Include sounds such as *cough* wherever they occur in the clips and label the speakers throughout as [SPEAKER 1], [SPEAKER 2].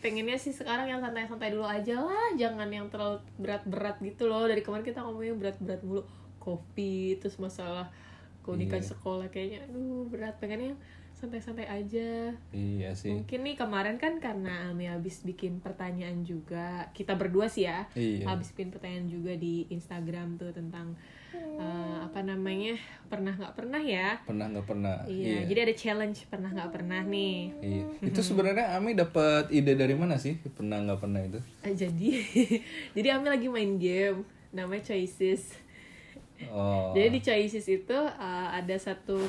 [SPEAKER 1] pengennya sih sekarang yang santai-santai dulu aja lah jangan yang terlalu berat-berat gitu loh dari kemarin kita ngomongin berat-berat mulu kopi terus masalah keunikan
[SPEAKER 2] Iya.
[SPEAKER 1] sekolah kayaknya aduh berat pengennya yang santai-santai aja
[SPEAKER 2] iya sih
[SPEAKER 1] mungkin nih kemarin kan karena Ami habis bikin pertanyaan juga kita berdua sih ya
[SPEAKER 2] iya
[SPEAKER 1] habis bikin pertanyaan juga di Instagram tuh tentang eh, apa namanya pernah nggak pernah ya
[SPEAKER 2] pernah nggak pernah
[SPEAKER 1] iya jadi ada challenge pernah nggak pernah nih
[SPEAKER 2] Iya. Itu sebenarnya Ami dapat ide dari mana sih? Pernah nggak pernah itu?
[SPEAKER 1] Eh, jadi *laughs* jadi Ami lagi main game namanya Choices
[SPEAKER 2] Oh.
[SPEAKER 1] jadi di Choices itu eh, ada satu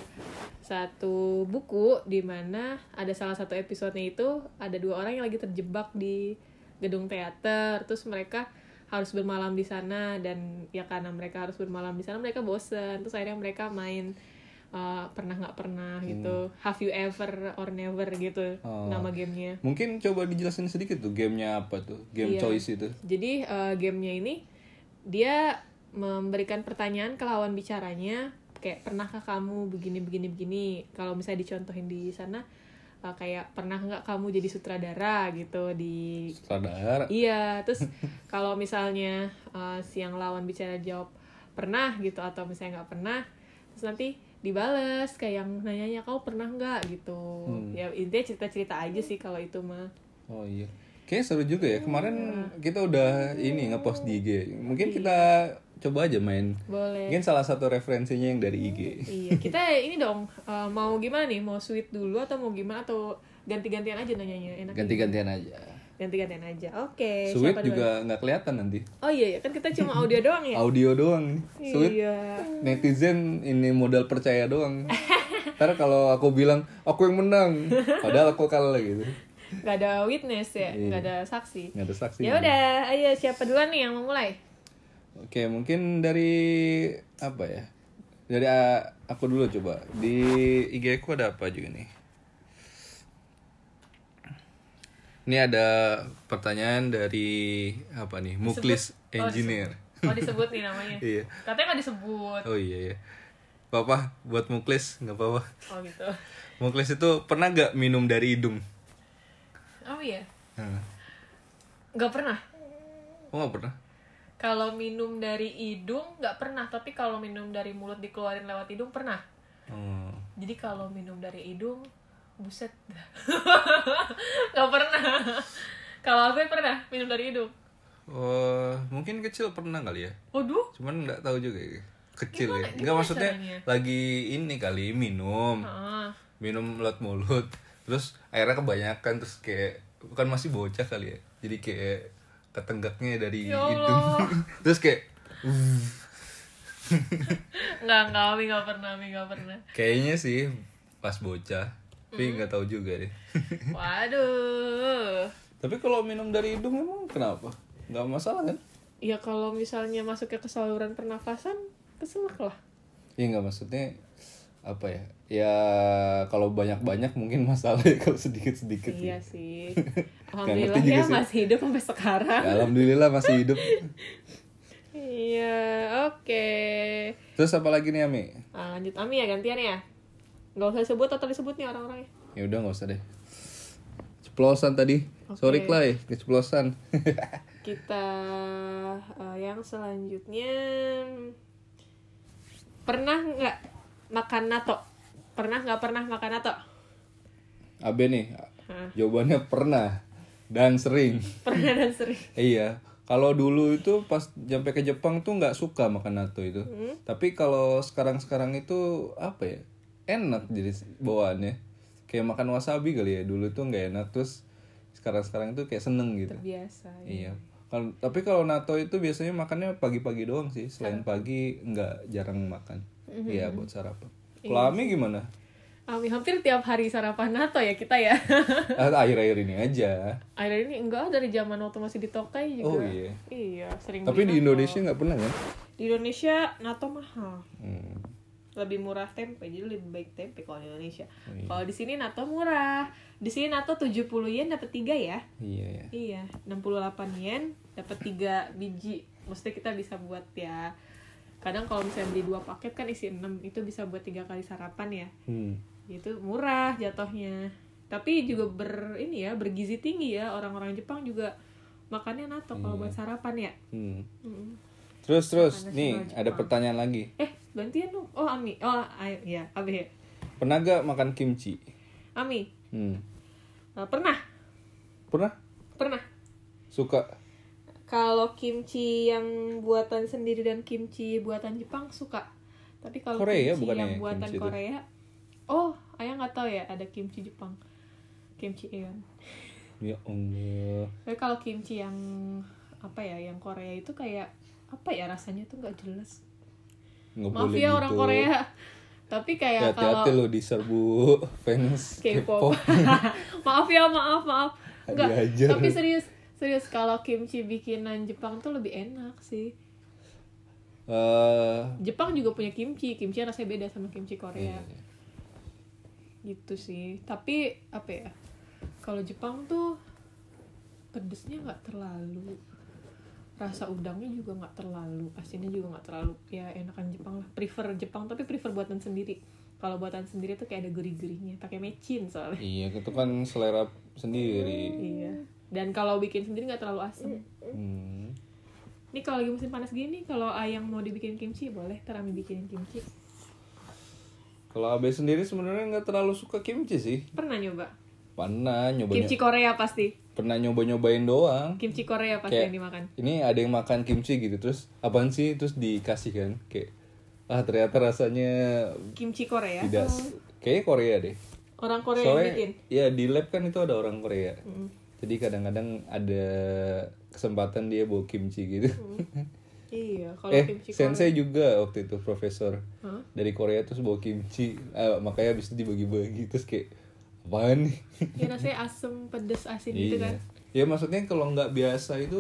[SPEAKER 1] satu buku di mana ada salah satu episodenya itu ada dua orang yang lagi terjebak di gedung teater terus mereka harus bermalam di sana dan ya karena mereka harus bermalam di sana mereka bosen terus akhirnya mereka main eh, pernah nggak pernah gitu have you ever or never gitu
[SPEAKER 2] Hmm. Oh.
[SPEAKER 1] nama gamenya
[SPEAKER 2] Mungkin coba dijelasin sedikit tuh gamenya apa tuh? Game
[SPEAKER 1] Iya.
[SPEAKER 2] choice itu.
[SPEAKER 1] Jadi eh, gamenya ini dia memberikan pertanyaan ke lawan bicaranya kayak pernahkah kamu begini begini begini. Kalau misalnya dicontohin di sana eh, kayak pernah nggak kamu jadi sutradara gitu di
[SPEAKER 2] Sutradara.
[SPEAKER 1] Iya, terus kalau misalnya eh, si yang lawan bicara jawab pernah gitu atau misalnya nggak pernah, terus nanti dibales kayak yang nanyanya kau pernah nggak gitu.
[SPEAKER 2] Hmm.
[SPEAKER 1] Ya intinya cerita-cerita aja sih kalau itu mah.
[SPEAKER 2] Oh iya. Kayaknya seru juga ya. Kemarin
[SPEAKER 1] Iya.
[SPEAKER 2] kita udah ini ngepost di IG. Mungkin kita coba aja main.
[SPEAKER 1] Boleh.
[SPEAKER 2] Mungkin salah satu referensinya yang dari IG.
[SPEAKER 1] iya kita ini dong eh, mau gimana nih mau sweet dulu atau mau gimana atau ganti-gantian aja nanyanya enak
[SPEAKER 2] Ganti-gantian aja.
[SPEAKER 1] ganti-gantian aja oke Iya,
[SPEAKER 2] Sweet
[SPEAKER 1] siapa duluan?
[SPEAKER 2] juga nggak kelihatan nanti.
[SPEAKER 1] oh iya, iya kan kita
[SPEAKER 2] *laughs*
[SPEAKER 1] cuma audio doang ya
[SPEAKER 2] Audio doang nih. Sweet
[SPEAKER 1] iya
[SPEAKER 2] netizen ini modal percaya
[SPEAKER 1] *laughs*
[SPEAKER 2] doang. Ntar kalau aku bilang aku yang menang, padahal aku kalah gitu.
[SPEAKER 1] nggak ada witness ya
[SPEAKER 2] Iya.
[SPEAKER 1] nggak ada saksi
[SPEAKER 2] Nggak ada saksi.
[SPEAKER 1] ya udah ayo siapa duluan nih yang mau mulai
[SPEAKER 2] Oke, mungkin dari apa ya? Dari uh, aku dulu coba. Di IG aku ada apa juga nih? Ini ada pertanyaan dari apa nih? Muklis
[SPEAKER 1] Oh,
[SPEAKER 2] Engineer.
[SPEAKER 1] oh disebut nih
[SPEAKER 2] *laughs*
[SPEAKER 1] namanya
[SPEAKER 2] Iya.
[SPEAKER 1] katanya nggak disebut
[SPEAKER 2] Oh iya ya. Papa buat Muklis nggak apa-apa.
[SPEAKER 1] oh gitu
[SPEAKER 2] Muklis itu pernah gak minum dari hidung?
[SPEAKER 1] oh iya
[SPEAKER 2] Nah,
[SPEAKER 1] nggak pernah
[SPEAKER 2] oh nggak pernah.
[SPEAKER 1] kalau minum dari hidung nggak pernah tapi kalau minum dari mulut dikeluarin lewat hidung pernah
[SPEAKER 2] Oh.
[SPEAKER 1] Jadi kalau minum dari hidung, buset. *laughs* Gak pernah. Kalau aku pernah minum dari hidung.
[SPEAKER 2] Oh, mungkin kecil pernah kali ya.
[SPEAKER 1] Waduh.
[SPEAKER 2] Cuman nggak tahu juga ya. Kecil
[SPEAKER 1] Gimana-
[SPEAKER 2] ya. Nggak
[SPEAKER 1] gimana
[SPEAKER 2] maksudnya
[SPEAKER 1] caranya?
[SPEAKER 2] lagi ini kali minum.
[SPEAKER 1] Ah,
[SPEAKER 2] Minum lewat mulut. Terus airnya kebanyakan terus kayak bukan masih bocah kali ya. Jadi kayak ketenggaknya dari
[SPEAKER 1] Ya Allah.
[SPEAKER 2] hidung. *laughs* terus kayak
[SPEAKER 1] nggak nggak Ami nggak pernah Ami nggak pernah.
[SPEAKER 2] kayaknya sih pas bocah.
[SPEAKER 1] Hmm.
[SPEAKER 2] Tapi nggak tahu juga deh. *laughs*
[SPEAKER 1] Waduh.
[SPEAKER 2] Tapi kalau minum dari hidung emang kenapa? Nggak masalah kan?
[SPEAKER 1] Ya kalau misalnya masuknya ke saluran pernafasan, keselak lah.
[SPEAKER 2] Iya nggak maksudnya apa ya? Ya kalau banyak-banyak mungkin masalah ya kalau sedikit-sedikit. ya.
[SPEAKER 1] Iya sih.
[SPEAKER 2] *laughs* Nggak
[SPEAKER 1] Alhamdulillah
[SPEAKER 2] ngerti juga
[SPEAKER 1] ya
[SPEAKER 2] sih.
[SPEAKER 1] masih hidup sampai sekarang.
[SPEAKER 2] Ya, Alhamdulillah masih hidup.
[SPEAKER 1] Iya, oke.
[SPEAKER 2] Terus apa lagi nih Ami?
[SPEAKER 1] Ah, lanjut Ami ya gantian ya. Gak usah sebut atau disebut nih orang-orangnya.
[SPEAKER 2] Ya udah nggak usah deh. Ceplosan tadi. Sorry
[SPEAKER 1] Oke.
[SPEAKER 2] Clay, keceplosan. *laughs*
[SPEAKER 1] kita eh, yang selanjutnya pernah nggak makan nato pernah nggak pernah makan nato
[SPEAKER 2] Abe nih,
[SPEAKER 1] Hah.
[SPEAKER 2] jawabannya pernah dan sering.
[SPEAKER 1] *laughs* pernah dan sering
[SPEAKER 2] Iya. Kalau dulu itu pas sampai ke Jepang tuh nggak suka makan natto itu. Tapi kalau sekarang-sekarang itu apa ya? Enak jadi bawaannya. Kayak makan wasabi kali ya. Dulu tuh nggak enak terus sekarang-sekarang itu kayak seneng gitu.
[SPEAKER 1] terbiasa ya.
[SPEAKER 2] Iya. Kalau- tapi kalau natto itu biasanya makannya pagi-pagi doang sih. Selain pagi nggak jarang makan. Iya buat sarapan. Kalau Ami gimana?
[SPEAKER 1] Ami Ah, hampir tiap hari sarapan nato ya kita ya *laughs*
[SPEAKER 2] Ah, Akhir-akhir ini aja.
[SPEAKER 1] akhir ini enggak dari zaman waktu masih di Tokai juga
[SPEAKER 2] Oh iya.
[SPEAKER 1] iya sering beli
[SPEAKER 2] Tapi di
[SPEAKER 1] nato.
[SPEAKER 2] Indonesia nggak pernah ya?
[SPEAKER 1] di Indonesia nato mahal
[SPEAKER 2] Hmm.
[SPEAKER 1] lebih murah tempe jadi lebih baik tempe kalau di Indonesia
[SPEAKER 2] Oh, iya.
[SPEAKER 1] kalau di sini nato murah di sini nato 70 yen dapat tiga ya
[SPEAKER 2] Iya ya.
[SPEAKER 1] Iya, 68 yen dapat 3 biji. Maksudnya kita bisa buat ya kadang kalau misalnya beli dua paket kan isi 6 itu bisa buat tiga kali sarapan ya.
[SPEAKER 2] Hmm.
[SPEAKER 1] Itu murah jatuhnya. tapi juga ber ini ya bergizi tinggi ya orang-orang Jepang juga makannya natto kalau buat sarapan ya
[SPEAKER 2] Hmm.
[SPEAKER 1] Mm.
[SPEAKER 2] Terus terus
[SPEAKER 1] Makanan
[SPEAKER 2] nih
[SPEAKER 1] nasional
[SPEAKER 2] ada
[SPEAKER 1] Jepang.
[SPEAKER 2] pertanyaan lagi.
[SPEAKER 1] eh gantian dong oh Ami oh Ay- ya Abi ya
[SPEAKER 2] Pernah gak makan kimchi?
[SPEAKER 1] Ami
[SPEAKER 2] Hmm.
[SPEAKER 1] eh, pernah
[SPEAKER 2] Pernah?
[SPEAKER 1] pernah
[SPEAKER 2] Suka?
[SPEAKER 1] kalau kimchi yang buatan sendiri dan kimchi buatan Jepang suka tapi kalau
[SPEAKER 2] Korea
[SPEAKER 1] kimchi
[SPEAKER 2] bukan
[SPEAKER 1] yang
[SPEAKER 2] ya,
[SPEAKER 1] buatan
[SPEAKER 2] kimchi itu?
[SPEAKER 1] Korea oh ayah nggak tahu ya ada kimchi Jepang kimchi Aeon
[SPEAKER 2] Ya Allah.
[SPEAKER 1] tapi kalau kimchi yang apa ya yang Korea itu kayak apa ya rasanya tuh nggak jelas
[SPEAKER 2] Nggak
[SPEAKER 1] maaf
[SPEAKER 2] boleh
[SPEAKER 1] ya
[SPEAKER 2] gitu.
[SPEAKER 1] orang Korea tapi kayak
[SPEAKER 2] Hati-hati
[SPEAKER 1] kalau
[SPEAKER 2] lo diserbu *laughs* fans
[SPEAKER 1] K-pop.
[SPEAKER 2] K-pop.
[SPEAKER 1] maaf ya, maaf, maaf. *laughs* Nggak,
[SPEAKER 2] Diajar.
[SPEAKER 1] tapi serius, serius kalau kimchi bikinan Jepang tuh lebih enak sih.
[SPEAKER 2] Eh,
[SPEAKER 1] Jepang juga punya kimchi, kimchi rasanya beda sama kimchi Korea.
[SPEAKER 2] iya.
[SPEAKER 1] Gitu sih. Tapi apa ya? Kalau Jepang tuh pedesnya nggak terlalu rasa udangnya juga nggak terlalu asinnya juga nggak terlalu ya enakan Jepang lah prefer Jepang tapi prefer buatan sendiri kalau buatan sendiri tuh kayak ada gurih-gurihnya pakai mecin soalnya
[SPEAKER 2] Iya, itu kan selera sendiri.
[SPEAKER 1] Iya. Dan kalau bikin sendiri nggak terlalu asem.
[SPEAKER 2] Hmm.
[SPEAKER 1] Ini kalau lagi musim panas gini, kalau ayang mau dibikin kimchi boleh, ntar Ami bikinin kimchi.
[SPEAKER 2] Kalau Abe sendiri sebenarnya nggak terlalu suka kimchi sih.
[SPEAKER 1] Pernah nyoba?
[SPEAKER 2] Pernah nyoba
[SPEAKER 1] Kimchi Korea pasti.
[SPEAKER 2] pernah nyoba-nyobain doang.
[SPEAKER 1] Kimchi Korea pasti
[SPEAKER 2] Kayak-
[SPEAKER 1] yang dimakan.
[SPEAKER 2] Ini ada yang makan kimchi gitu terus apaan sih terus dikasih kan kayak ah ternyata rasanya
[SPEAKER 1] Kimchi Korea.
[SPEAKER 2] tidak
[SPEAKER 1] atau
[SPEAKER 2] kayaknya Korea deh.
[SPEAKER 1] Orang Korea yang bikin.
[SPEAKER 2] ya di lab kan itu ada orang Korea.
[SPEAKER 1] Mm.
[SPEAKER 2] Jadi kadang-kadang ada kesempatan dia bawa kimchi gitu. *laughs*
[SPEAKER 1] Iya, kalau
[SPEAKER 2] eh,
[SPEAKER 1] kimchi Korea.
[SPEAKER 2] sensei juga waktu itu profesor
[SPEAKER 1] Hah?
[SPEAKER 2] dari Korea terus bawa kimchi. Ah, makanya habis itu dibagi-bagi terus kayak apaan
[SPEAKER 1] *laughs*
[SPEAKER 2] nih?
[SPEAKER 1] Ya rasanya asem, pedes, asin gitu kan.
[SPEAKER 2] Ya maksudnya kalau nggak biasa itu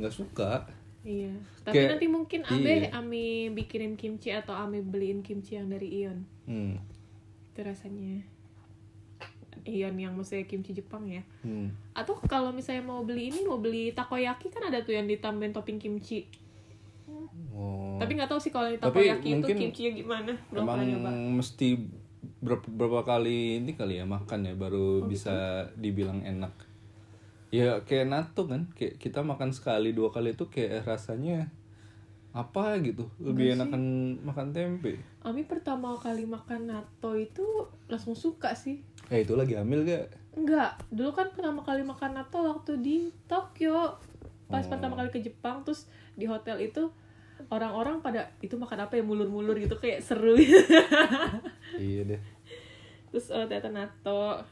[SPEAKER 2] nggak suka.
[SPEAKER 1] Iya. Tapi
[SPEAKER 2] Kayak-
[SPEAKER 1] nanti mungkin Abe
[SPEAKER 2] iya.
[SPEAKER 1] Ami bikinin kimchi atau Ami beliin kimchi yang dari Ion.
[SPEAKER 2] Hmm.
[SPEAKER 1] Itu rasanya. Ion yang maksudnya kimchi Jepang ya.
[SPEAKER 2] Hmm.
[SPEAKER 1] Atau kalau misalnya mau beli ini, mau beli takoyaki kan ada tuh yang ditambahin topping kimchi.
[SPEAKER 2] Oh.
[SPEAKER 1] Tapi nggak tahu sih kalau yang
[SPEAKER 2] Tapi
[SPEAKER 1] takoyaki itu
[SPEAKER 2] mungkin
[SPEAKER 1] kimchinya gimana. Belum
[SPEAKER 2] Emang
[SPEAKER 1] pernah nyoba.
[SPEAKER 2] mesti berapa, berapa kali ini kali ya makan ya
[SPEAKER 1] Oh,
[SPEAKER 2] baru
[SPEAKER 1] gitu.
[SPEAKER 2] bisa dibilang enak. Ya kayak nato kan, kayak kita makan sekali dua kali itu kayak rasanya apa gitu, lebih enakan makan tempe.
[SPEAKER 1] Ami pertama kali makan natto itu langsung suka sih.
[SPEAKER 2] Eh itu lagi hamil gak?
[SPEAKER 1] Enggak, dulu kan pertama kali makan natto waktu di Tokyo. Pas
[SPEAKER 2] Oh.
[SPEAKER 1] pertama kali ke Jepang terus di hotel itu orang-orang pada itu makan apa ya mulur-mulur gitu kayak seru *laughs* gitu.
[SPEAKER 2] iya deh.
[SPEAKER 1] terus oh, ternyata natto.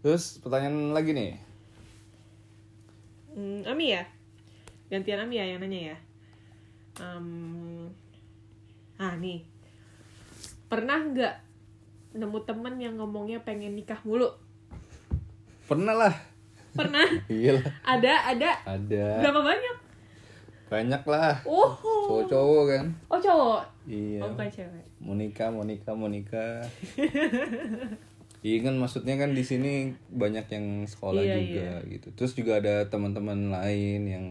[SPEAKER 2] Terus pertanyaan lagi nih.
[SPEAKER 1] Hmm, Ami ya? Gantian Ami ya yang nanya ya? Em, ah nih Pernah nggak nemu temen yang ngomongnya pengen nikah mulu?
[SPEAKER 2] Pernah lah. *laughs*
[SPEAKER 1] Pernah?
[SPEAKER 2] Iya lah.
[SPEAKER 1] ada, ada
[SPEAKER 2] Ada.
[SPEAKER 1] Berapa banyak?
[SPEAKER 2] Banyak lah.
[SPEAKER 1] Oh,
[SPEAKER 2] Cowok-cowok kan.
[SPEAKER 1] oh cowok?
[SPEAKER 2] Iya.
[SPEAKER 1] Oh bukan cewek
[SPEAKER 2] Monika, Monika, Monika. iya kan maksudnya kan di sini banyak yang sekolah
[SPEAKER 1] Iya,
[SPEAKER 2] juga gitu. Terus juga ada teman-teman lain yang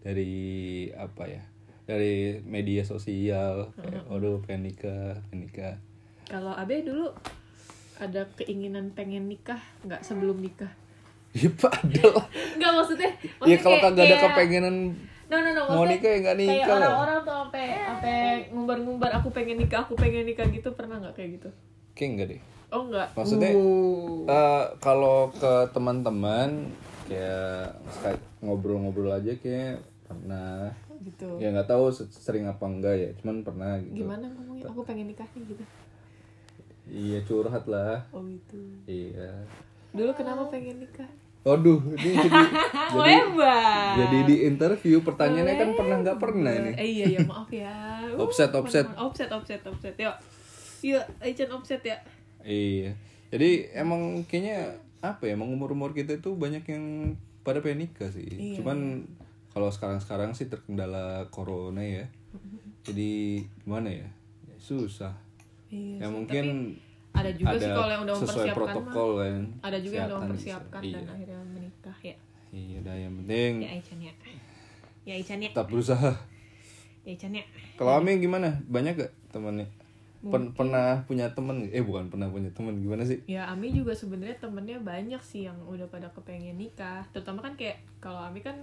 [SPEAKER 2] dari apa ya? Dari media sosial kayak waduh pengen nikah, pengen nikah.
[SPEAKER 1] Kalau Abe dulu ada keinginan pengen nikah nggak sebelum nikah?
[SPEAKER 2] Ya ada lah.
[SPEAKER 1] Nggak maksudnya?
[SPEAKER 2] Iya
[SPEAKER 1] maksudnya
[SPEAKER 2] kalau
[SPEAKER 1] kayak-
[SPEAKER 2] kagak ada
[SPEAKER 1] kayak-
[SPEAKER 2] kepengenan
[SPEAKER 1] No no no,
[SPEAKER 2] mau
[SPEAKER 1] maksudnya
[SPEAKER 2] nikah ya nggak
[SPEAKER 1] kayak
[SPEAKER 2] nikah lah.
[SPEAKER 1] orang-orang tuh sampai sampai ngumbar-ngumbar aku pengen nikah, aku pengen nikah gitu pernah nggak kayak gitu?
[SPEAKER 2] Kayak enggak deh.
[SPEAKER 1] Oh enggak.
[SPEAKER 2] Maksudnya
[SPEAKER 1] Uh.
[SPEAKER 2] Eh, kalau ke teman-teman kayak sekali- ngobrol-ngobrol aja kayak pernah
[SPEAKER 1] gitu.
[SPEAKER 2] ya nggak tahu se- sering apa enggak ya cuman pernah gitu
[SPEAKER 1] Gimana ngomongnya? Aku pengen nikah nih gitu.
[SPEAKER 2] iya curhat lah
[SPEAKER 1] Oh gitu.
[SPEAKER 2] iya
[SPEAKER 1] Dulu kenapa pengen nikah?
[SPEAKER 2] waduh ini
[SPEAKER 1] *laughs*
[SPEAKER 2] jadi jadi,
[SPEAKER 1] Lebar.
[SPEAKER 2] jadi di interview pertanyaannya kan pernah nggak pernah nih
[SPEAKER 1] Eh iya ya maaf ya. Uh,
[SPEAKER 2] *laughs* Offset,
[SPEAKER 1] mohon
[SPEAKER 2] offset.
[SPEAKER 1] maaf. Offset offset offset. Yuk. Yuk, Aichen offset ya.
[SPEAKER 2] iya jadi emang kayaknya apa ya emang umur umur kita itu banyak yang pada pengen nikah sih
[SPEAKER 1] Iya.
[SPEAKER 2] cuman kalau sekarang sekarang sih terkendala corona ya
[SPEAKER 1] Mm-hmm.
[SPEAKER 2] jadi gimana ya Ya, susah
[SPEAKER 1] Iya.
[SPEAKER 2] ya
[SPEAKER 1] sih,
[SPEAKER 2] mungkin
[SPEAKER 1] tapi ada juga sih kalau yang udah
[SPEAKER 2] sesuai
[SPEAKER 1] mempersiapkan
[SPEAKER 2] protokol
[SPEAKER 1] mah.
[SPEAKER 2] kan
[SPEAKER 1] Ada juga yang udah
[SPEAKER 2] kesehatan di sana.
[SPEAKER 1] mempersiapkan
[SPEAKER 2] iya.
[SPEAKER 1] dan akhirnya menikah ya.
[SPEAKER 2] Iya dah yang penting
[SPEAKER 1] Ya Aichen ya. Ya Aichen ya.
[SPEAKER 2] tetap berusaha.
[SPEAKER 1] Ya Aichen ya.
[SPEAKER 2] Kalau Ami gimana? Banyak gak temannya? Pen- pernah punya temen eh bukan pernah punya temen gimana sih
[SPEAKER 1] Ya Ami juga sebenarnya temennya banyak sih yang udah pada kepengen nikah. Terutama kan kayak kalau Ami kan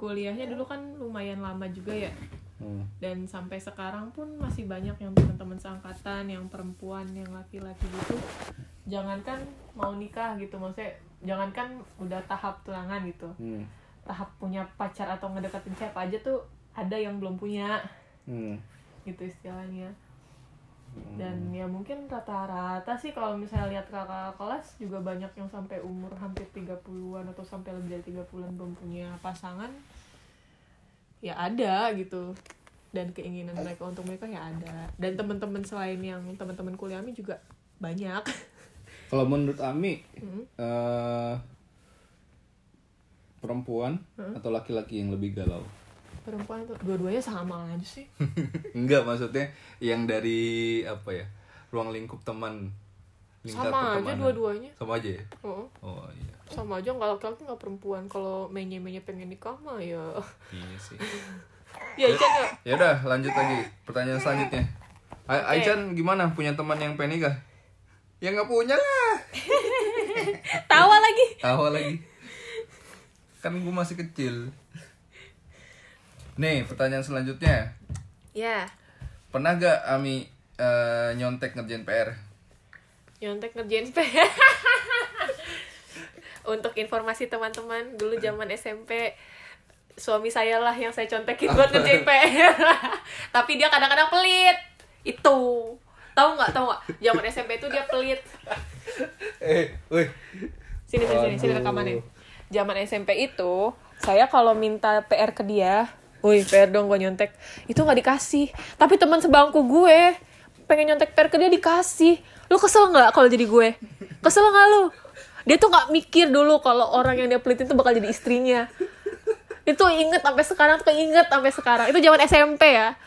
[SPEAKER 1] kuliahnya dulu kan lumayan lama juga ya.
[SPEAKER 2] Hmm.
[SPEAKER 1] Dan sampai sekarang pun masih banyak yang teman-teman seangkatan, yang perempuan, yang laki-laki gitu. Jangankan mau nikah gitu, maksudnya jangankan udah tahap tunangan gitu.
[SPEAKER 2] Hmm.
[SPEAKER 1] Tahap punya pacar atau ngedekatin siapa aja tuh ada yang belum punya
[SPEAKER 2] Hmm.
[SPEAKER 1] gitu istilahnya dan ya mungkin rata-rata sih kalau misalnya lihat kakak kelas juga banyak yang sampai umur hampir 30-an atau sampai lebih dari 30-an belum punya pasangan ya ada gitu dan keinginan mereka untuk mereka ya ada dan teman-teman selain yang teman-teman kuliahmi juga banyak
[SPEAKER 2] kalau menurut Ami
[SPEAKER 1] Mm.
[SPEAKER 2] eh, perempuan
[SPEAKER 1] Hmm.
[SPEAKER 2] atau laki-laki yang lebih galau
[SPEAKER 1] *laughs*
[SPEAKER 2] *laughs*
[SPEAKER 1] perempuan tuh dua-duanya sama aja sih
[SPEAKER 2] enggak maksudnya yang dari apa ya ruang lingkup teman lingkar
[SPEAKER 1] sama aja
[SPEAKER 2] pertemanan.
[SPEAKER 1] dua-duanya
[SPEAKER 2] sama aja ya
[SPEAKER 1] Oh,
[SPEAKER 2] oh iya
[SPEAKER 1] sama aja nggak laki-laki nggak perempuan kalau menye-menye pengen nikah mah ya *laughs*
[SPEAKER 2] iya sih
[SPEAKER 1] ya Ican *laughs* ya
[SPEAKER 2] ya udah lanjut lagi pertanyaan selanjutnya A- Aichan gimana punya teman yang pengen nikah ya nggak punya lah
[SPEAKER 1] tawa lagi
[SPEAKER 2] tawa lagi kan gue masih kecil nih pertanyaan selanjutnya
[SPEAKER 1] ya
[SPEAKER 2] pernah gak Ami eh, nyontek ngerjain PR
[SPEAKER 1] nyontek ngerjain PR *laughs* untuk informasi teman-teman dulu zaman SMP suami saya lah yang saya contekin buat ngerjain PR *laughs* tapi dia kadang-kadang pelit itu tahu nggak tahu nggak zaman SMP itu dia pelit
[SPEAKER 2] eh wih
[SPEAKER 1] sini sini sini, sini
[SPEAKER 2] Aduh.
[SPEAKER 1] rekamannya zaman SMP itu saya kalau minta PR ke dia Wih, PR dong gue nyontek. Itu nggak dikasih. Tapi teman sebangku gue pengen nyontek PR ke dia dikasih. Lu kesel nggak kalau jadi gue? Kesel nggak lu? Dia tuh nggak mikir dulu kalau orang yang dia pelitin tuh bakal jadi istrinya. Itu inget sampai sekarang, tuh keinget sampai sekarang. Itu zaman SMP ya.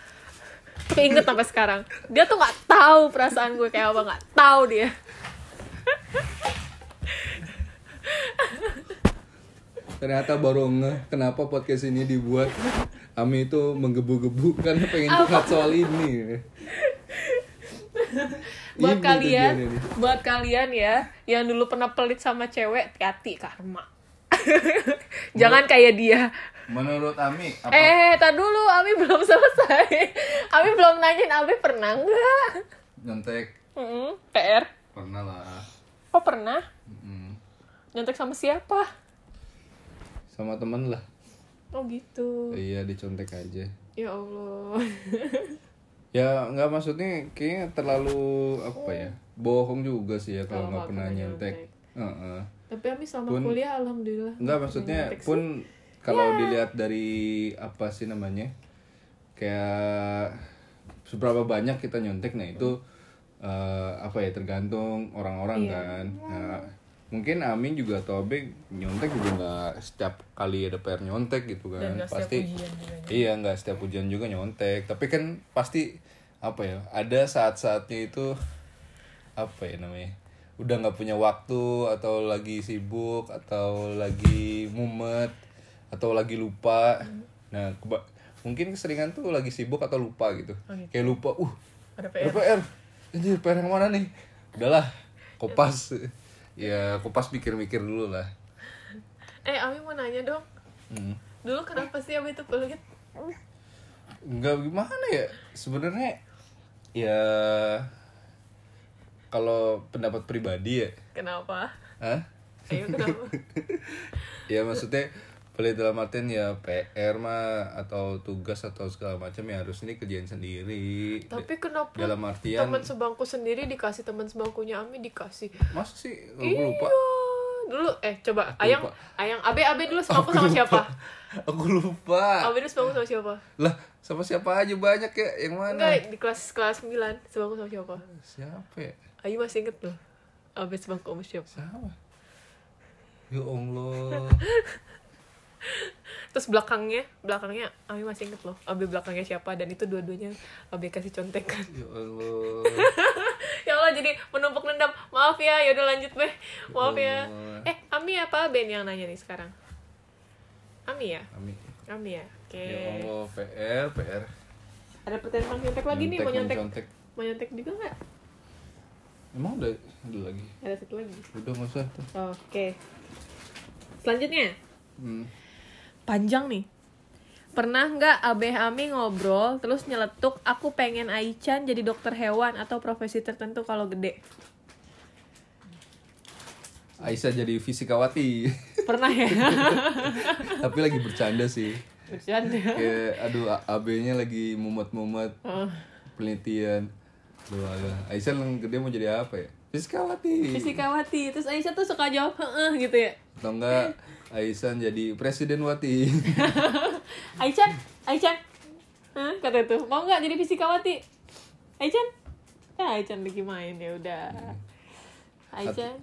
[SPEAKER 1] Tuh Keinget sampai sekarang. Dia tuh nggak tahu perasaan gue kayak apa, nggak tahu dia.
[SPEAKER 2] ternyata baru ngeh kenapa podcast ini dibuat Ami itu menggebu-gebu kan pengen curhat soal ini
[SPEAKER 1] buat kalian
[SPEAKER 2] Ini tujuannya Iya, nih.
[SPEAKER 1] buat kalian ya yang dulu pernah pelit sama cewek hati-hati karma *laughs* jangan kayak dia
[SPEAKER 2] menurut Ami apa
[SPEAKER 1] eh tar dulu Ami belum *laughs* selesai Ami belum nanyain Ami pernah nggak
[SPEAKER 2] nyontek
[SPEAKER 1] Mm-mm, PR
[SPEAKER 2] pernah lah
[SPEAKER 1] oh pernah
[SPEAKER 2] Mm-mm.
[SPEAKER 1] nyontek sama siapa
[SPEAKER 2] sama teman lah
[SPEAKER 1] oh gitu
[SPEAKER 2] iya dicontek aja
[SPEAKER 1] ya Allah *laughs*
[SPEAKER 2] ya nggak maksudnya kayaknya terlalu apa ya bohong juga sih ya kalau nggak pernah nyontek Heeh.
[SPEAKER 1] tapi Ami selama kuliah alhamdulillah
[SPEAKER 2] nggak maksudnya pun kalau dilihat dari apa sih namanya kayak seberapa banyak kita nyontek nah itu eh, apa ya tergantung orang-orang kan Nah, mungkin Amin juga atau Abe nyontek juga nggak setiap kali ada PR nyontek gitu kan pasti Iya nggak setiap ujian juga nyontek tapi kan pasti apa ya ada saat-saatnya itu apa ya namanya udah nggak punya waktu atau lagi sibuk atau lagi mumet atau lagi lupa nah keba- mungkin keseringan tuh lagi sibuk atau lupa gitu kayak lupa uh
[SPEAKER 1] ada
[SPEAKER 2] ada PR anjir PR yang mana nih udahlah kopas ya kopas pikir-mikir dulu lah
[SPEAKER 1] eh Ami mau nanya dong
[SPEAKER 2] Hmm.
[SPEAKER 1] dulu kenapa sih Ami tuh pelit
[SPEAKER 2] nggak gimana ya sebenarnya ya kalau pendapat pribadi ya
[SPEAKER 1] kenapa
[SPEAKER 2] Hah?
[SPEAKER 1] ayo
[SPEAKER 2] *laughs*
[SPEAKER 1] kenapa
[SPEAKER 2] ya maksudnya pelit dalam artian ya PR mah atau tugas atau segala macam ya harus ini kerjain sendiri
[SPEAKER 1] Tapi kenapa
[SPEAKER 2] dalam artian
[SPEAKER 1] teman sebangku sendiri dikasih teman sebangkunya Ami dikasih?
[SPEAKER 2] masa sih aku lupa
[SPEAKER 1] Iya. Dulu eh coba Ayang Ayang Abe Abe dulu sebangku sama siapa?
[SPEAKER 2] aku lupa
[SPEAKER 1] Abe dulu sebangku sama siapa?
[SPEAKER 2] lah sama siapa aja banyak ya yang mana
[SPEAKER 1] Enggak di kelas kelas 9 sebangku sama siapa?
[SPEAKER 2] siapa ya
[SPEAKER 1] Ayu masih inget loh. Abe sebangku sama siapa?
[SPEAKER 2] siapa ya Allah
[SPEAKER 1] Terus belakangnya, belakangnya Abe masih inget loh. Abe belakangnya siapa dan itu dua-duanya Abe kasih contekan. *laughs*
[SPEAKER 2] ya Allah
[SPEAKER 1] ya Allah jadi menumpuk dendam. Maaf ya, ya udah lanjut deh. Maaf ya.
[SPEAKER 2] Allah.
[SPEAKER 1] Eh, Ami apa Ben yang nanya nih sekarang? Ami ya?
[SPEAKER 2] Amin
[SPEAKER 1] Kami ya, oke.
[SPEAKER 2] ya Allah PR PR
[SPEAKER 1] Ada pertanyaan nyontek lagi nih, mau nyontek.
[SPEAKER 2] mencontek.
[SPEAKER 1] mau nyontek juga nggak
[SPEAKER 2] Emang ada, ada lagi?
[SPEAKER 1] ada satu lagi
[SPEAKER 2] Udah nggak usah. tuh.
[SPEAKER 1] oke selanjutnya
[SPEAKER 2] Hmm.
[SPEAKER 1] panjang nih pernah nggak abeh ami ngobrol terus nyeletuk aku pengen Aichan jadi dokter hewan atau profesi tertentu kalau gede
[SPEAKER 2] Aisyah jadi fisikawati. *laughs*
[SPEAKER 1] pernah *laughs* ya
[SPEAKER 2] Tapi lagi bercanda sih.
[SPEAKER 1] bercanda
[SPEAKER 2] Kayak aduh A- AB-nya lagi mumet-mumet
[SPEAKER 1] Oh,
[SPEAKER 2] penelitian. Aduh, aduh. Aisyah yang gede mau jadi apa ya? Fisikawati.
[SPEAKER 1] fisikawati terus Aisyah tuh suka jawab heeh gitu ya
[SPEAKER 2] Atau enggak Aisyah jadi presiden wati.
[SPEAKER 1] Aichan Aichan Hah, kata itu mau nggak jadi fisikawati Aichan ya Aichan lagi main ya udah Aichan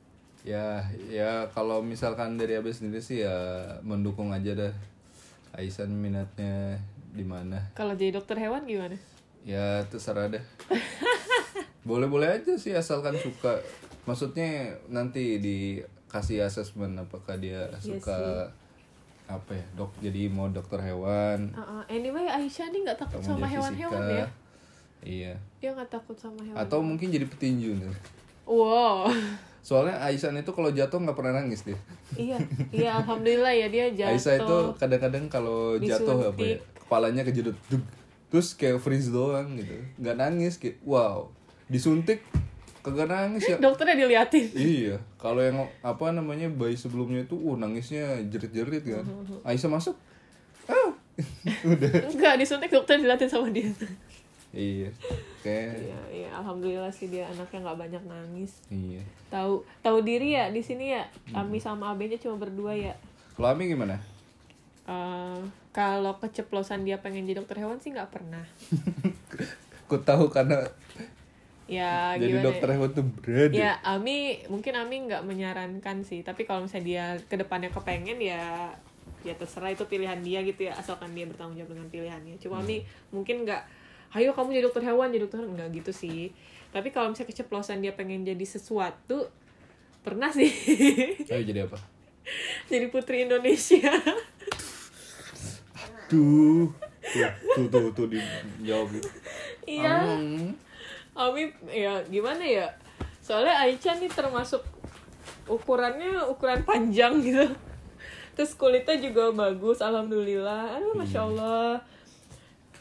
[SPEAKER 2] *laughs* ya, ya kalau misalkan dari AB sendiri sih ya mendukung aja dah. Aisyah minatnya di mana?
[SPEAKER 1] kalau jadi dokter hewan gimana
[SPEAKER 2] Ya terserah
[SPEAKER 1] *laughs*
[SPEAKER 2] deh Boleh-boleh aja sih asalkan suka Maksudnya nanti dikasih asesmen apakah dia
[SPEAKER 1] Iya
[SPEAKER 2] suka apa ya dok jadi mau dokter hewan
[SPEAKER 1] Uh-uh. anyway Aisyah nih nggak takut
[SPEAKER 2] atau mau
[SPEAKER 1] sama
[SPEAKER 2] jadi
[SPEAKER 1] hewan-hewan
[SPEAKER 2] fisika.
[SPEAKER 1] ya
[SPEAKER 2] iya
[SPEAKER 1] dia nggak takut sama hewan
[SPEAKER 2] atau mungkin jadi petinju nih
[SPEAKER 1] wow
[SPEAKER 2] soalnya Aisyah itu kalau jatuh nggak pernah nangis deh
[SPEAKER 1] *laughs* iya iya alhamdulillah ya dia jatuh
[SPEAKER 2] Aisyah itu kadang-kadang kalau jatuh apa ya kepalanya kejedot duk. terus kayak freeze doang gitu nggak nangis kayak wow disuntik kagak nangis ya
[SPEAKER 1] dokternya
[SPEAKER 2] *laughs*
[SPEAKER 1] diliatin
[SPEAKER 2] Iya, kalau yang apa namanya bayi sebelumnya itu uh nangisnya jerit-jerit kan.
[SPEAKER 1] Mm-hmm.
[SPEAKER 2] Aisyah masuk. Ah. Udah.
[SPEAKER 1] enggak disuntik dokter diliatin sama dia
[SPEAKER 2] Iya. Kayak
[SPEAKER 1] iya iya alhamdulillah sih dia anaknya nggak banyak nangis
[SPEAKER 2] iya.
[SPEAKER 1] tahu tahu diri ya di sini ya kami
[SPEAKER 2] Hmm.
[SPEAKER 1] sama abenya cuma berdua ya
[SPEAKER 2] Kalau Ami gimana? *laughs*
[SPEAKER 1] Eh, kalau keceplosan dia pengen jadi dokter hewan sih nggak pernah
[SPEAKER 2] Ku tahu karena
[SPEAKER 1] ya
[SPEAKER 2] jadi
[SPEAKER 1] gimana
[SPEAKER 2] dokter
[SPEAKER 1] ya?
[SPEAKER 2] hewan tuh berat.
[SPEAKER 1] ya Ami mungkin Ami nggak menyarankan sih tapi kalau misalnya dia kedepannya kepengen ya ya terserah itu pilihan dia gitu ya asalkan dia bertanggung jawab dengan pilihannya cuma Ami
[SPEAKER 2] Hmm.
[SPEAKER 1] mungkin nggak ayo kamu jadi dokter hewan jadi dokter nggak gitu sih tapi kalau misalnya keceplosan dia pengen jadi sesuatu pernah sih *laughs*
[SPEAKER 2] Ayo jadi apa?
[SPEAKER 1] jadi putri Indonesia *laughs*
[SPEAKER 2] Duh. Tuh, tuh, tuh, tuh dijawab gitu.
[SPEAKER 1] Iya,
[SPEAKER 2] Hmm.
[SPEAKER 1] Ami ya gimana ya? Soalnya Aichan nih termasuk ukurannya ukuran panjang *laughs* gitu. Terus kulitnya juga bagus, alhamdulillah. Aduh,
[SPEAKER 2] Hmm.
[SPEAKER 1] masya Allah.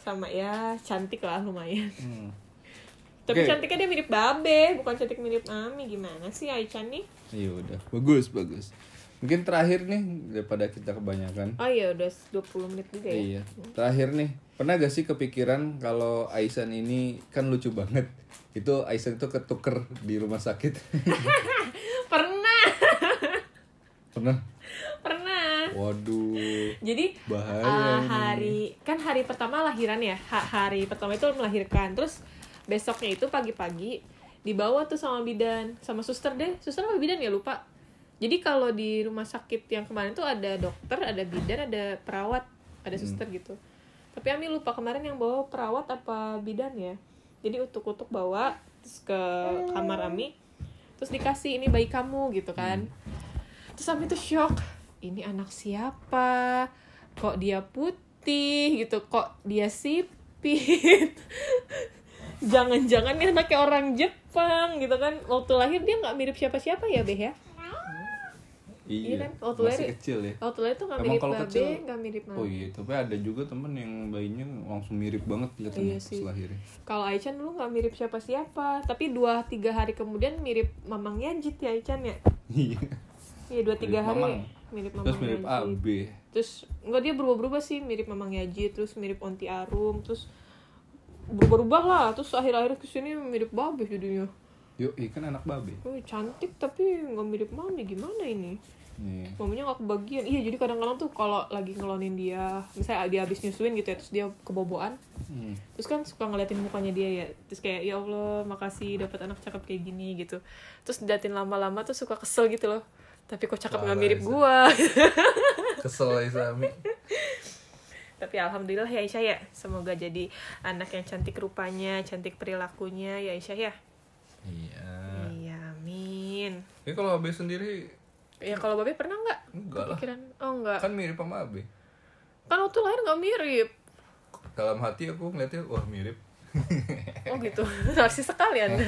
[SPEAKER 1] Sama ya, cantik lah lumayan.
[SPEAKER 2] Hmm.
[SPEAKER 1] Tapi
[SPEAKER 2] Oke.
[SPEAKER 1] cantiknya dia mirip Babe, bukan cantik mirip Ami. Gimana sih Aichan nih?
[SPEAKER 2] Iya udah. Bagus, bagus. Mungkin terakhir nih daripada kita kebanyakan.
[SPEAKER 1] Oh iya, udah 20 menit juga ya.
[SPEAKER 2] Iya. Terakhir nih, pernah gak sih kepikiran kalau Aisan ini kan lucu banget? Itu Aisan itu ketuker di rumah sakit.
[SPEAKER 1] *laughs*
[SPEAKER 2] *laughs*
[SPEAKER 1] Pernah,
[SPEAKER 2] pernah.
[SPEAKER 1] pernah.
[SPEAKER 2] Waduh,
[SPEAKER 1] Jadi
[SPEAKER 2] bahaya.
[SPEAKER 1] Eh, hari kan hari pertama lahiran ya Ha- hari pertama itu melahirkan terus besoknya itu pagi-pagi dibawa tuh sama bidan sama suster deh suster apa bidan ya lupa jadi kalau di rumah sakit yang kemarin tuh ada dokter ada bidan ada perawat ada suster gitu tapi Ami lupa kemarin yang bawa perawat apa bidan ya jadi utuk-utuk bawa terus ke kamar Ami terus dikasih ini bayi kamu gitu kan terus Ami tuh shock ini anak siapa kok dia putih gitu kok dia sipit *laughs* jangan-jangan ini anaknya orang Jepang gitu kan waktu lahir dia nggak mirip siapa-siapa ya beh ya
[SPEAKER 2] Iya,
[SPEAKER 1] iya kan, waktu Hmm.
[SPEAKER 2] masih
[SPEAKER 1] lahir-
[SPEAKER 2] kecil ya.
[SPEAKER 1] waktu lahir tuh nggak
[SPEAKER 2] Emang
[SPEAKER 1] mirip
[SPEAKER 2] kalau
[SPEAKER 1] babe
[SPEAKER 2] kecil-
[SPEAKER 1] nggak mirip mama
[SPEAKER 2] Oh iya, tapi ada juga temen yang bayinya langsung mirip banget kelihatannya
[SPEAKER 1] Iya
[SPEAKER 2] pas
[SPEAKER 1] sih.
[SPEAKER 2] lahirnya. *laughs*
[SPEAKER 1] kalau Aichan dulu nggak mirip siapa-siapa tapi dua tiga hari kemudian mirip mamangnya Jit ya Aichan ya
[SPEAKER 2] Iya.
[SPEAKER 1] iya dua tiga
[SPEAKER 2] Mirip
[SPEAKER 1] hari
[SPEAKER 2] mamang.
[SPEAKER 1] mirip
[SPEAKER 2] Terus
[SPEAKER 1] mamangnya
[SPEAKER 2] mirip
[SPEAKER 1] Jit.
[SPEAKER 2] AB.
[SPEAKER 1] terus enggak dia berubah-berubah sih mirip Mamang Yaji terus mirip Onti Arum terus berubah-ubah lah terus akhir-akhir kesini mirip Babe jadinya
[SPEAKER 2] Yuk, iya kan anak babe.
[SPEAKER 1] Wih, cantik tapi nggak mirip mami gimana ini
[SPEAKER 2] Iya.
[SPEAKER 1] mamanya nggak kebagian iya jadi kadang-kadang tuh kalau lagi ngelonin dia misalnya dia habis nyusuin gitu ya terus dia keboboan
[SPEAKER 2] Hmm.
[SPEAKER 1] terus kan suka ngeliatin mukanya dia ya terus kayak ya allah makasih dapat anak cakep kayak gini gitu terus datin lama-lama tuh suka kesel gitu loh tapi kok cakep nggak
[SPEAKER 2] Parah,
[SPEAKER 1] mirip
[SPEAKER 2] Isa.
[SPEAKER 1] gua *laughs*
[SPEAKER 2] Kesel Aisyah Ami.
[SPEAKER 1] Tapi alhamdulillah ya Aisyah ya, semoga jadi anak yang cantik rupanya, cantik perilakunya ya Aisyah ya.
[SPEAKER 2] *laughs* Iya.
[SPEAKER 1] Iya, amin.
[SPEAKER 2] Ini kalau AB sendiri
[SPEAKER 1] Ya kalau Babe pernah nggak?
[SPEAKER 2] enggak lah.
[SPEAKER 1] Pikiran, oh enggak.
[SPEAKER 2] Kan mirip sama AB.
[SPEAKER 1] Kan waktu lahir nggak mirip.
[SPEAKER 2] Dalam hati aku ngeliatnya wah mirip. *laughs*
[SPEAKER 1] oh gitu narsis sekali anda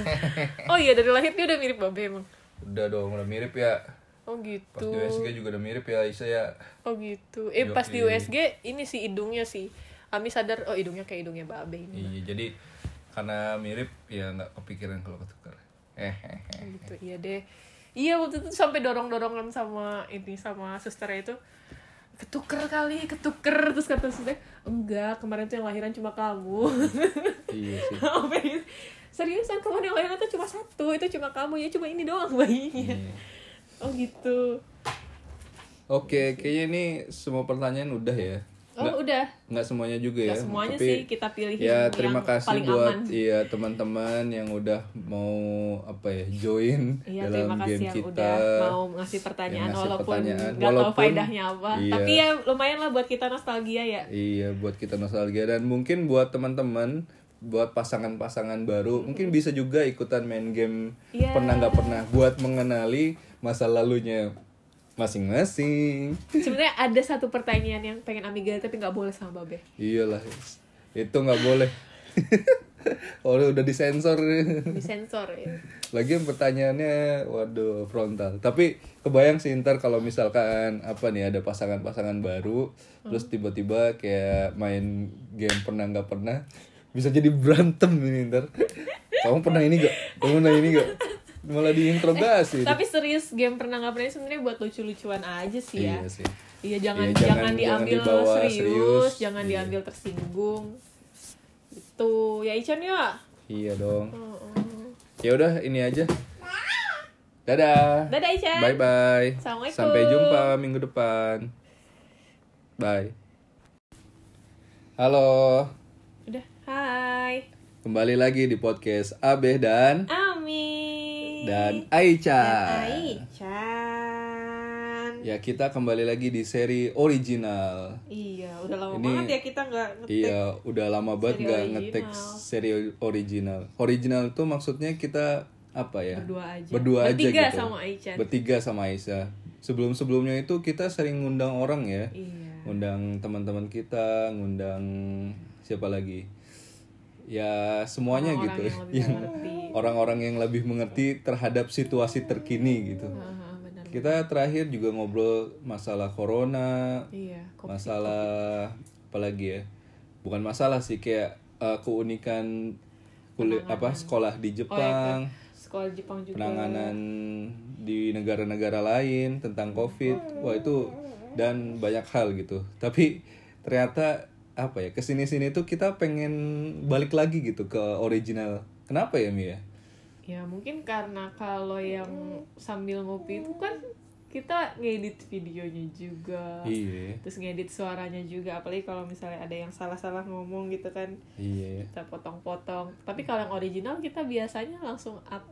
[SPEAKER 1] oh iya dari lahir dia udah mirip babe emang
[SPEAKER 2] Udah dong, udah mirip ya.
[SPEAKER 1] oh
[SPEAKER 2] Pas
[SPEAKER 1] gitu
[SPEAKER 2] di USG juga udah mirip ya Isa ya.
[SPEAKER 1] oh gitu eh pas di
[SPEAKER 2] Yoi.
[SPEAKER 1] USG ini sih hidungnya sih Ami sadar oh hidungnya kayak hidungnya babe ini
[SPEAKER 2] Iya, jadi karena mirip ya nggak kepikiran kalau ketukar. Eh, eh, eh.
[SPEAKER 1] Oh gitu iya deh iya waktu itu sampai dorong dorongan sama ini sama susternya itu ketuker kali ketuker terus kata suster enggak kemarin tuh yang lahiran cuma kamu
[SPEAKER 2] iya
[SPEAKER 1] *laughs*
[SPEAKER 2] sih.
[SPEAKER 1] Oh, bayi. Seriusan kemarin yang lahiran tuh cuma satu, itu cuma kamu ya cuma ini doang bayinya.
[SPEAKER 2] Iya.
[SPEAKER 1] Oh gitu. Iya
[SPEAKER 2] Oke, kayaknya ini semua pertanyaan udah ya.
[SPEAKER 1] Oh
[SPEAKER 2] Nggak-
[SPEAKER 1] udah.
[SPEAKER 2] nggak semuanya juga ya.
[SPEAKER 1] Nggak semuanya
[SPEAKER 2] tapi
[SPEAKER 1] sih, kita pilihin
[SPEAKER 2] Ya
[SPEAKER 1] yang
[SPEAKER 2] terima kasih
[SPEAKER 1] paling
[SPEAKER 2] buat
[SPEAKER 1] aman.
[SPEAKER 2] iya teman-teman yang udah mau apa ya join
[SPEAKER 1] Iya terima
[SPEAKER 2] dalam
[SPEAKER 1] kasih
[SPEAKER 2] game
[SPEAKER 1] yang
[SPEAKER 2] kita.
[SPEAKER 1] udah mau ngasih pertanyaan
[SPEAKER 2] ngasih
[SPEAKER 1] walaupun
[SPEAKER 2] pertanyaan.
[SPEAKER 1] nggak tahu
[SPEAKER 2] Walaupun-
[SPEAKER 1] faedahnya apa.
[SPEAKER 2] iya.
[SPEAKER 1] Tapi ya lumayan lah buat kita nostalgia
[SPEAKER 2] *laughs*
[SPEAKER 1] ya.
[SPEAKER 2] Iya buat kita nostalgia dan mungkin buat teman-teman buat pasangan-pasangan baru mungkin bisa juga ikutan main game
[SPEAKER 1] Iya.
[SPEAKER 2] pernah nggak pernah buat mengenali masa lalunya masing-masing.
[SPEAKER 1] Sebenarnya ada satu pertanyaan yang pengen Amiga tapi nggak boleh sama Babe.
[SPEAKER 2] Iyalah itu nggak boleh. *laughs* Oh udah disensor.
[SPEAKER 1] Disensor ya.
[SPEAKER 2] Lagi pertanyaannya waduh frontal. Tapi kebayang sih ntar kalau misalkan apa nih ada pasangan-pasangan baru terus tiba-tiba kayak main game pernah nggak pernah bisa jadi berantem ini ntar. Kamu pernah ini gak? Kamu pernah ini gak? Malah diinterogasi.
[SPEAKER 1] Tapi serius game pernah nggak pernah ini sebenarnya buat lucu-lucuan aja sih ya.
[SPEAKER 2] Iya sih.
[SPEAKER 1] Iya jangan
[SPEAKER 2] Iya, jangan-
[SPEAKER 1] jangan, diambil
[SPEAKER 2] jangan dibawa
[SPEAKER 1] serius,
[SPEAKER 2] serius.
[SPEAKER 1] jangan
[SPEAKER 2] Iya.
[SPEAKER 1] diambil tersinggung. Itu ya Ichan ya.
[SPEAKER 2] Iya dong.
[SPEAKER 1] Oh, oh.
[SPEAKER 2] Ya udah ini aja. Dadah.
[SPEAKER 1] Dadah Ichan.
[SPEAKER 2] Bye bye.
[SPEAKER 1] Assalamualaikum.
[SPEAKER 2] Sampai jumpa minggu depan. Bye. Halo,
[SPEAKER 1] Udah. Hai.
[SPEAKER 2] kembali lagi di podcast Abeh dan
[SPEAKER 1] Ami.
[SPEAKER 2] dan Aicha.
[SPEAKER 1] Ichan.
[SPEAKER 2] Ya kita kembali lagi di seri original.
[SPEAKER 1] Iya, udah lama
[SPEAKER 2] Ini-
[SPEAKER 1] banget ya kita nggak ngetik.
[SPEAKER 2] Iya, udah lama banget
[SPEAKER 1] Seri
[SPEAKER 2] nggak
[SPEAKER 1] original.
[SPEAKER 2] ngetek seri original. Original itu maksudnya kita apa ya?
[SPEAKER 1] Berdua aja.
[SPEAKER 2] Berdua aja
[SPEAKER 1] Bertiga
[SPEAKER 2] gitu.
[SPEAKER 1] sama Aichan.
[SPEAKER 2] Bertiga sama Aisyah. Sebelum-sebelumnya itu kita sering ngundang orang ya.
[SPEAKER 1] Iya.
[SPEAKER 2] ngundang teman-teman kita, ngundang siapa lagi? Ya semuanya
[SPEAKER 1] Orang-orang
[SPEAKER 2] gitu.
[SPEAKER 1] yang
[SPEAKER 2] *laughs* Yang
[SPEAKER 1] lebih mengerti.
[SPEAKER 2] orang-orang yang lebih mengerti terhadap situasi terkini gitu.
[SPEAKER 1] Ah, benar.
[SPEAKER 2] Kita terakhir juga ngobrol masalah corona,
[SPEAKER 1] Iya, kok
[SPEAKER 2] masalah apa lagi ya? Bukan masalah sih kayak eh, keunikan kuliah apa sekolah di
[SPEAKER 1] Oh,
[SPEAKER 2] Jepang,
[SPEAKER 1] gitu. sekolah Jepang juga.
[SPEAKER 2] penanganan di negara-negara lain tentang COVID. Wah itu dan banyak hal gitu. Tapi ternyata apa ya kesini sini tuh kita pengen balik lagi gitu ke original. Kenapa ya Mia?
[SPEAKER 1] Ya mungkin karena kalau yang sambil ngopi itu kan kita ngedit videonya juga.
[SPEAKER 2] Iya,
[SPEAKER 1] Terus ngedit suaranya juga apalagi kalau misalnya ada yang salah-salah ngomong gitu kan
[SPEAKER 2] iya.
[SPEAKER 1] kita potong-potong. Tapi kalau yang original kita biasanya langsung up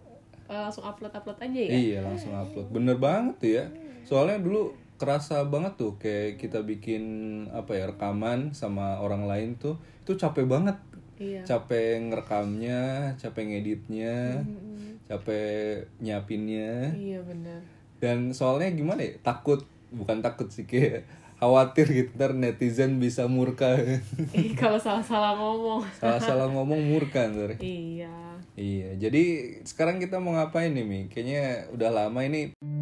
[SPEAKER 1] eh, langsung upload-upload aja ya.
[SPEAKER 2] Iya langsung upload. Bener banget tuh ya. Soalnya dulu kerasa banget tuh kayak kita bikin apa ya rekaman sama orang lain tuh itu capek banget.
[SPEAKER 1] Iya.
[SPEAKER 2] Capek ngerekamnya, capek ngeditnya, capek nyiapinnya.
[SPEAKER 1] Iya *laughs* benar.
[SPEAKER 2] Dan soalnya gimana ya? Takut, bukan takut sih kayak khawatir gitu ntar netizen bisa murka. *laughs*
[SPEAKER 1] Eh, kalau salah-salah ngomong.
[SPEAKER 2] Salah-salah ngomong murka ntar.
[SPEAKER 1] Iya.
[SPEAKER 2] Iya, jadi sekarang kita mau ngapain nih Mi? Kayaknya udah lama ini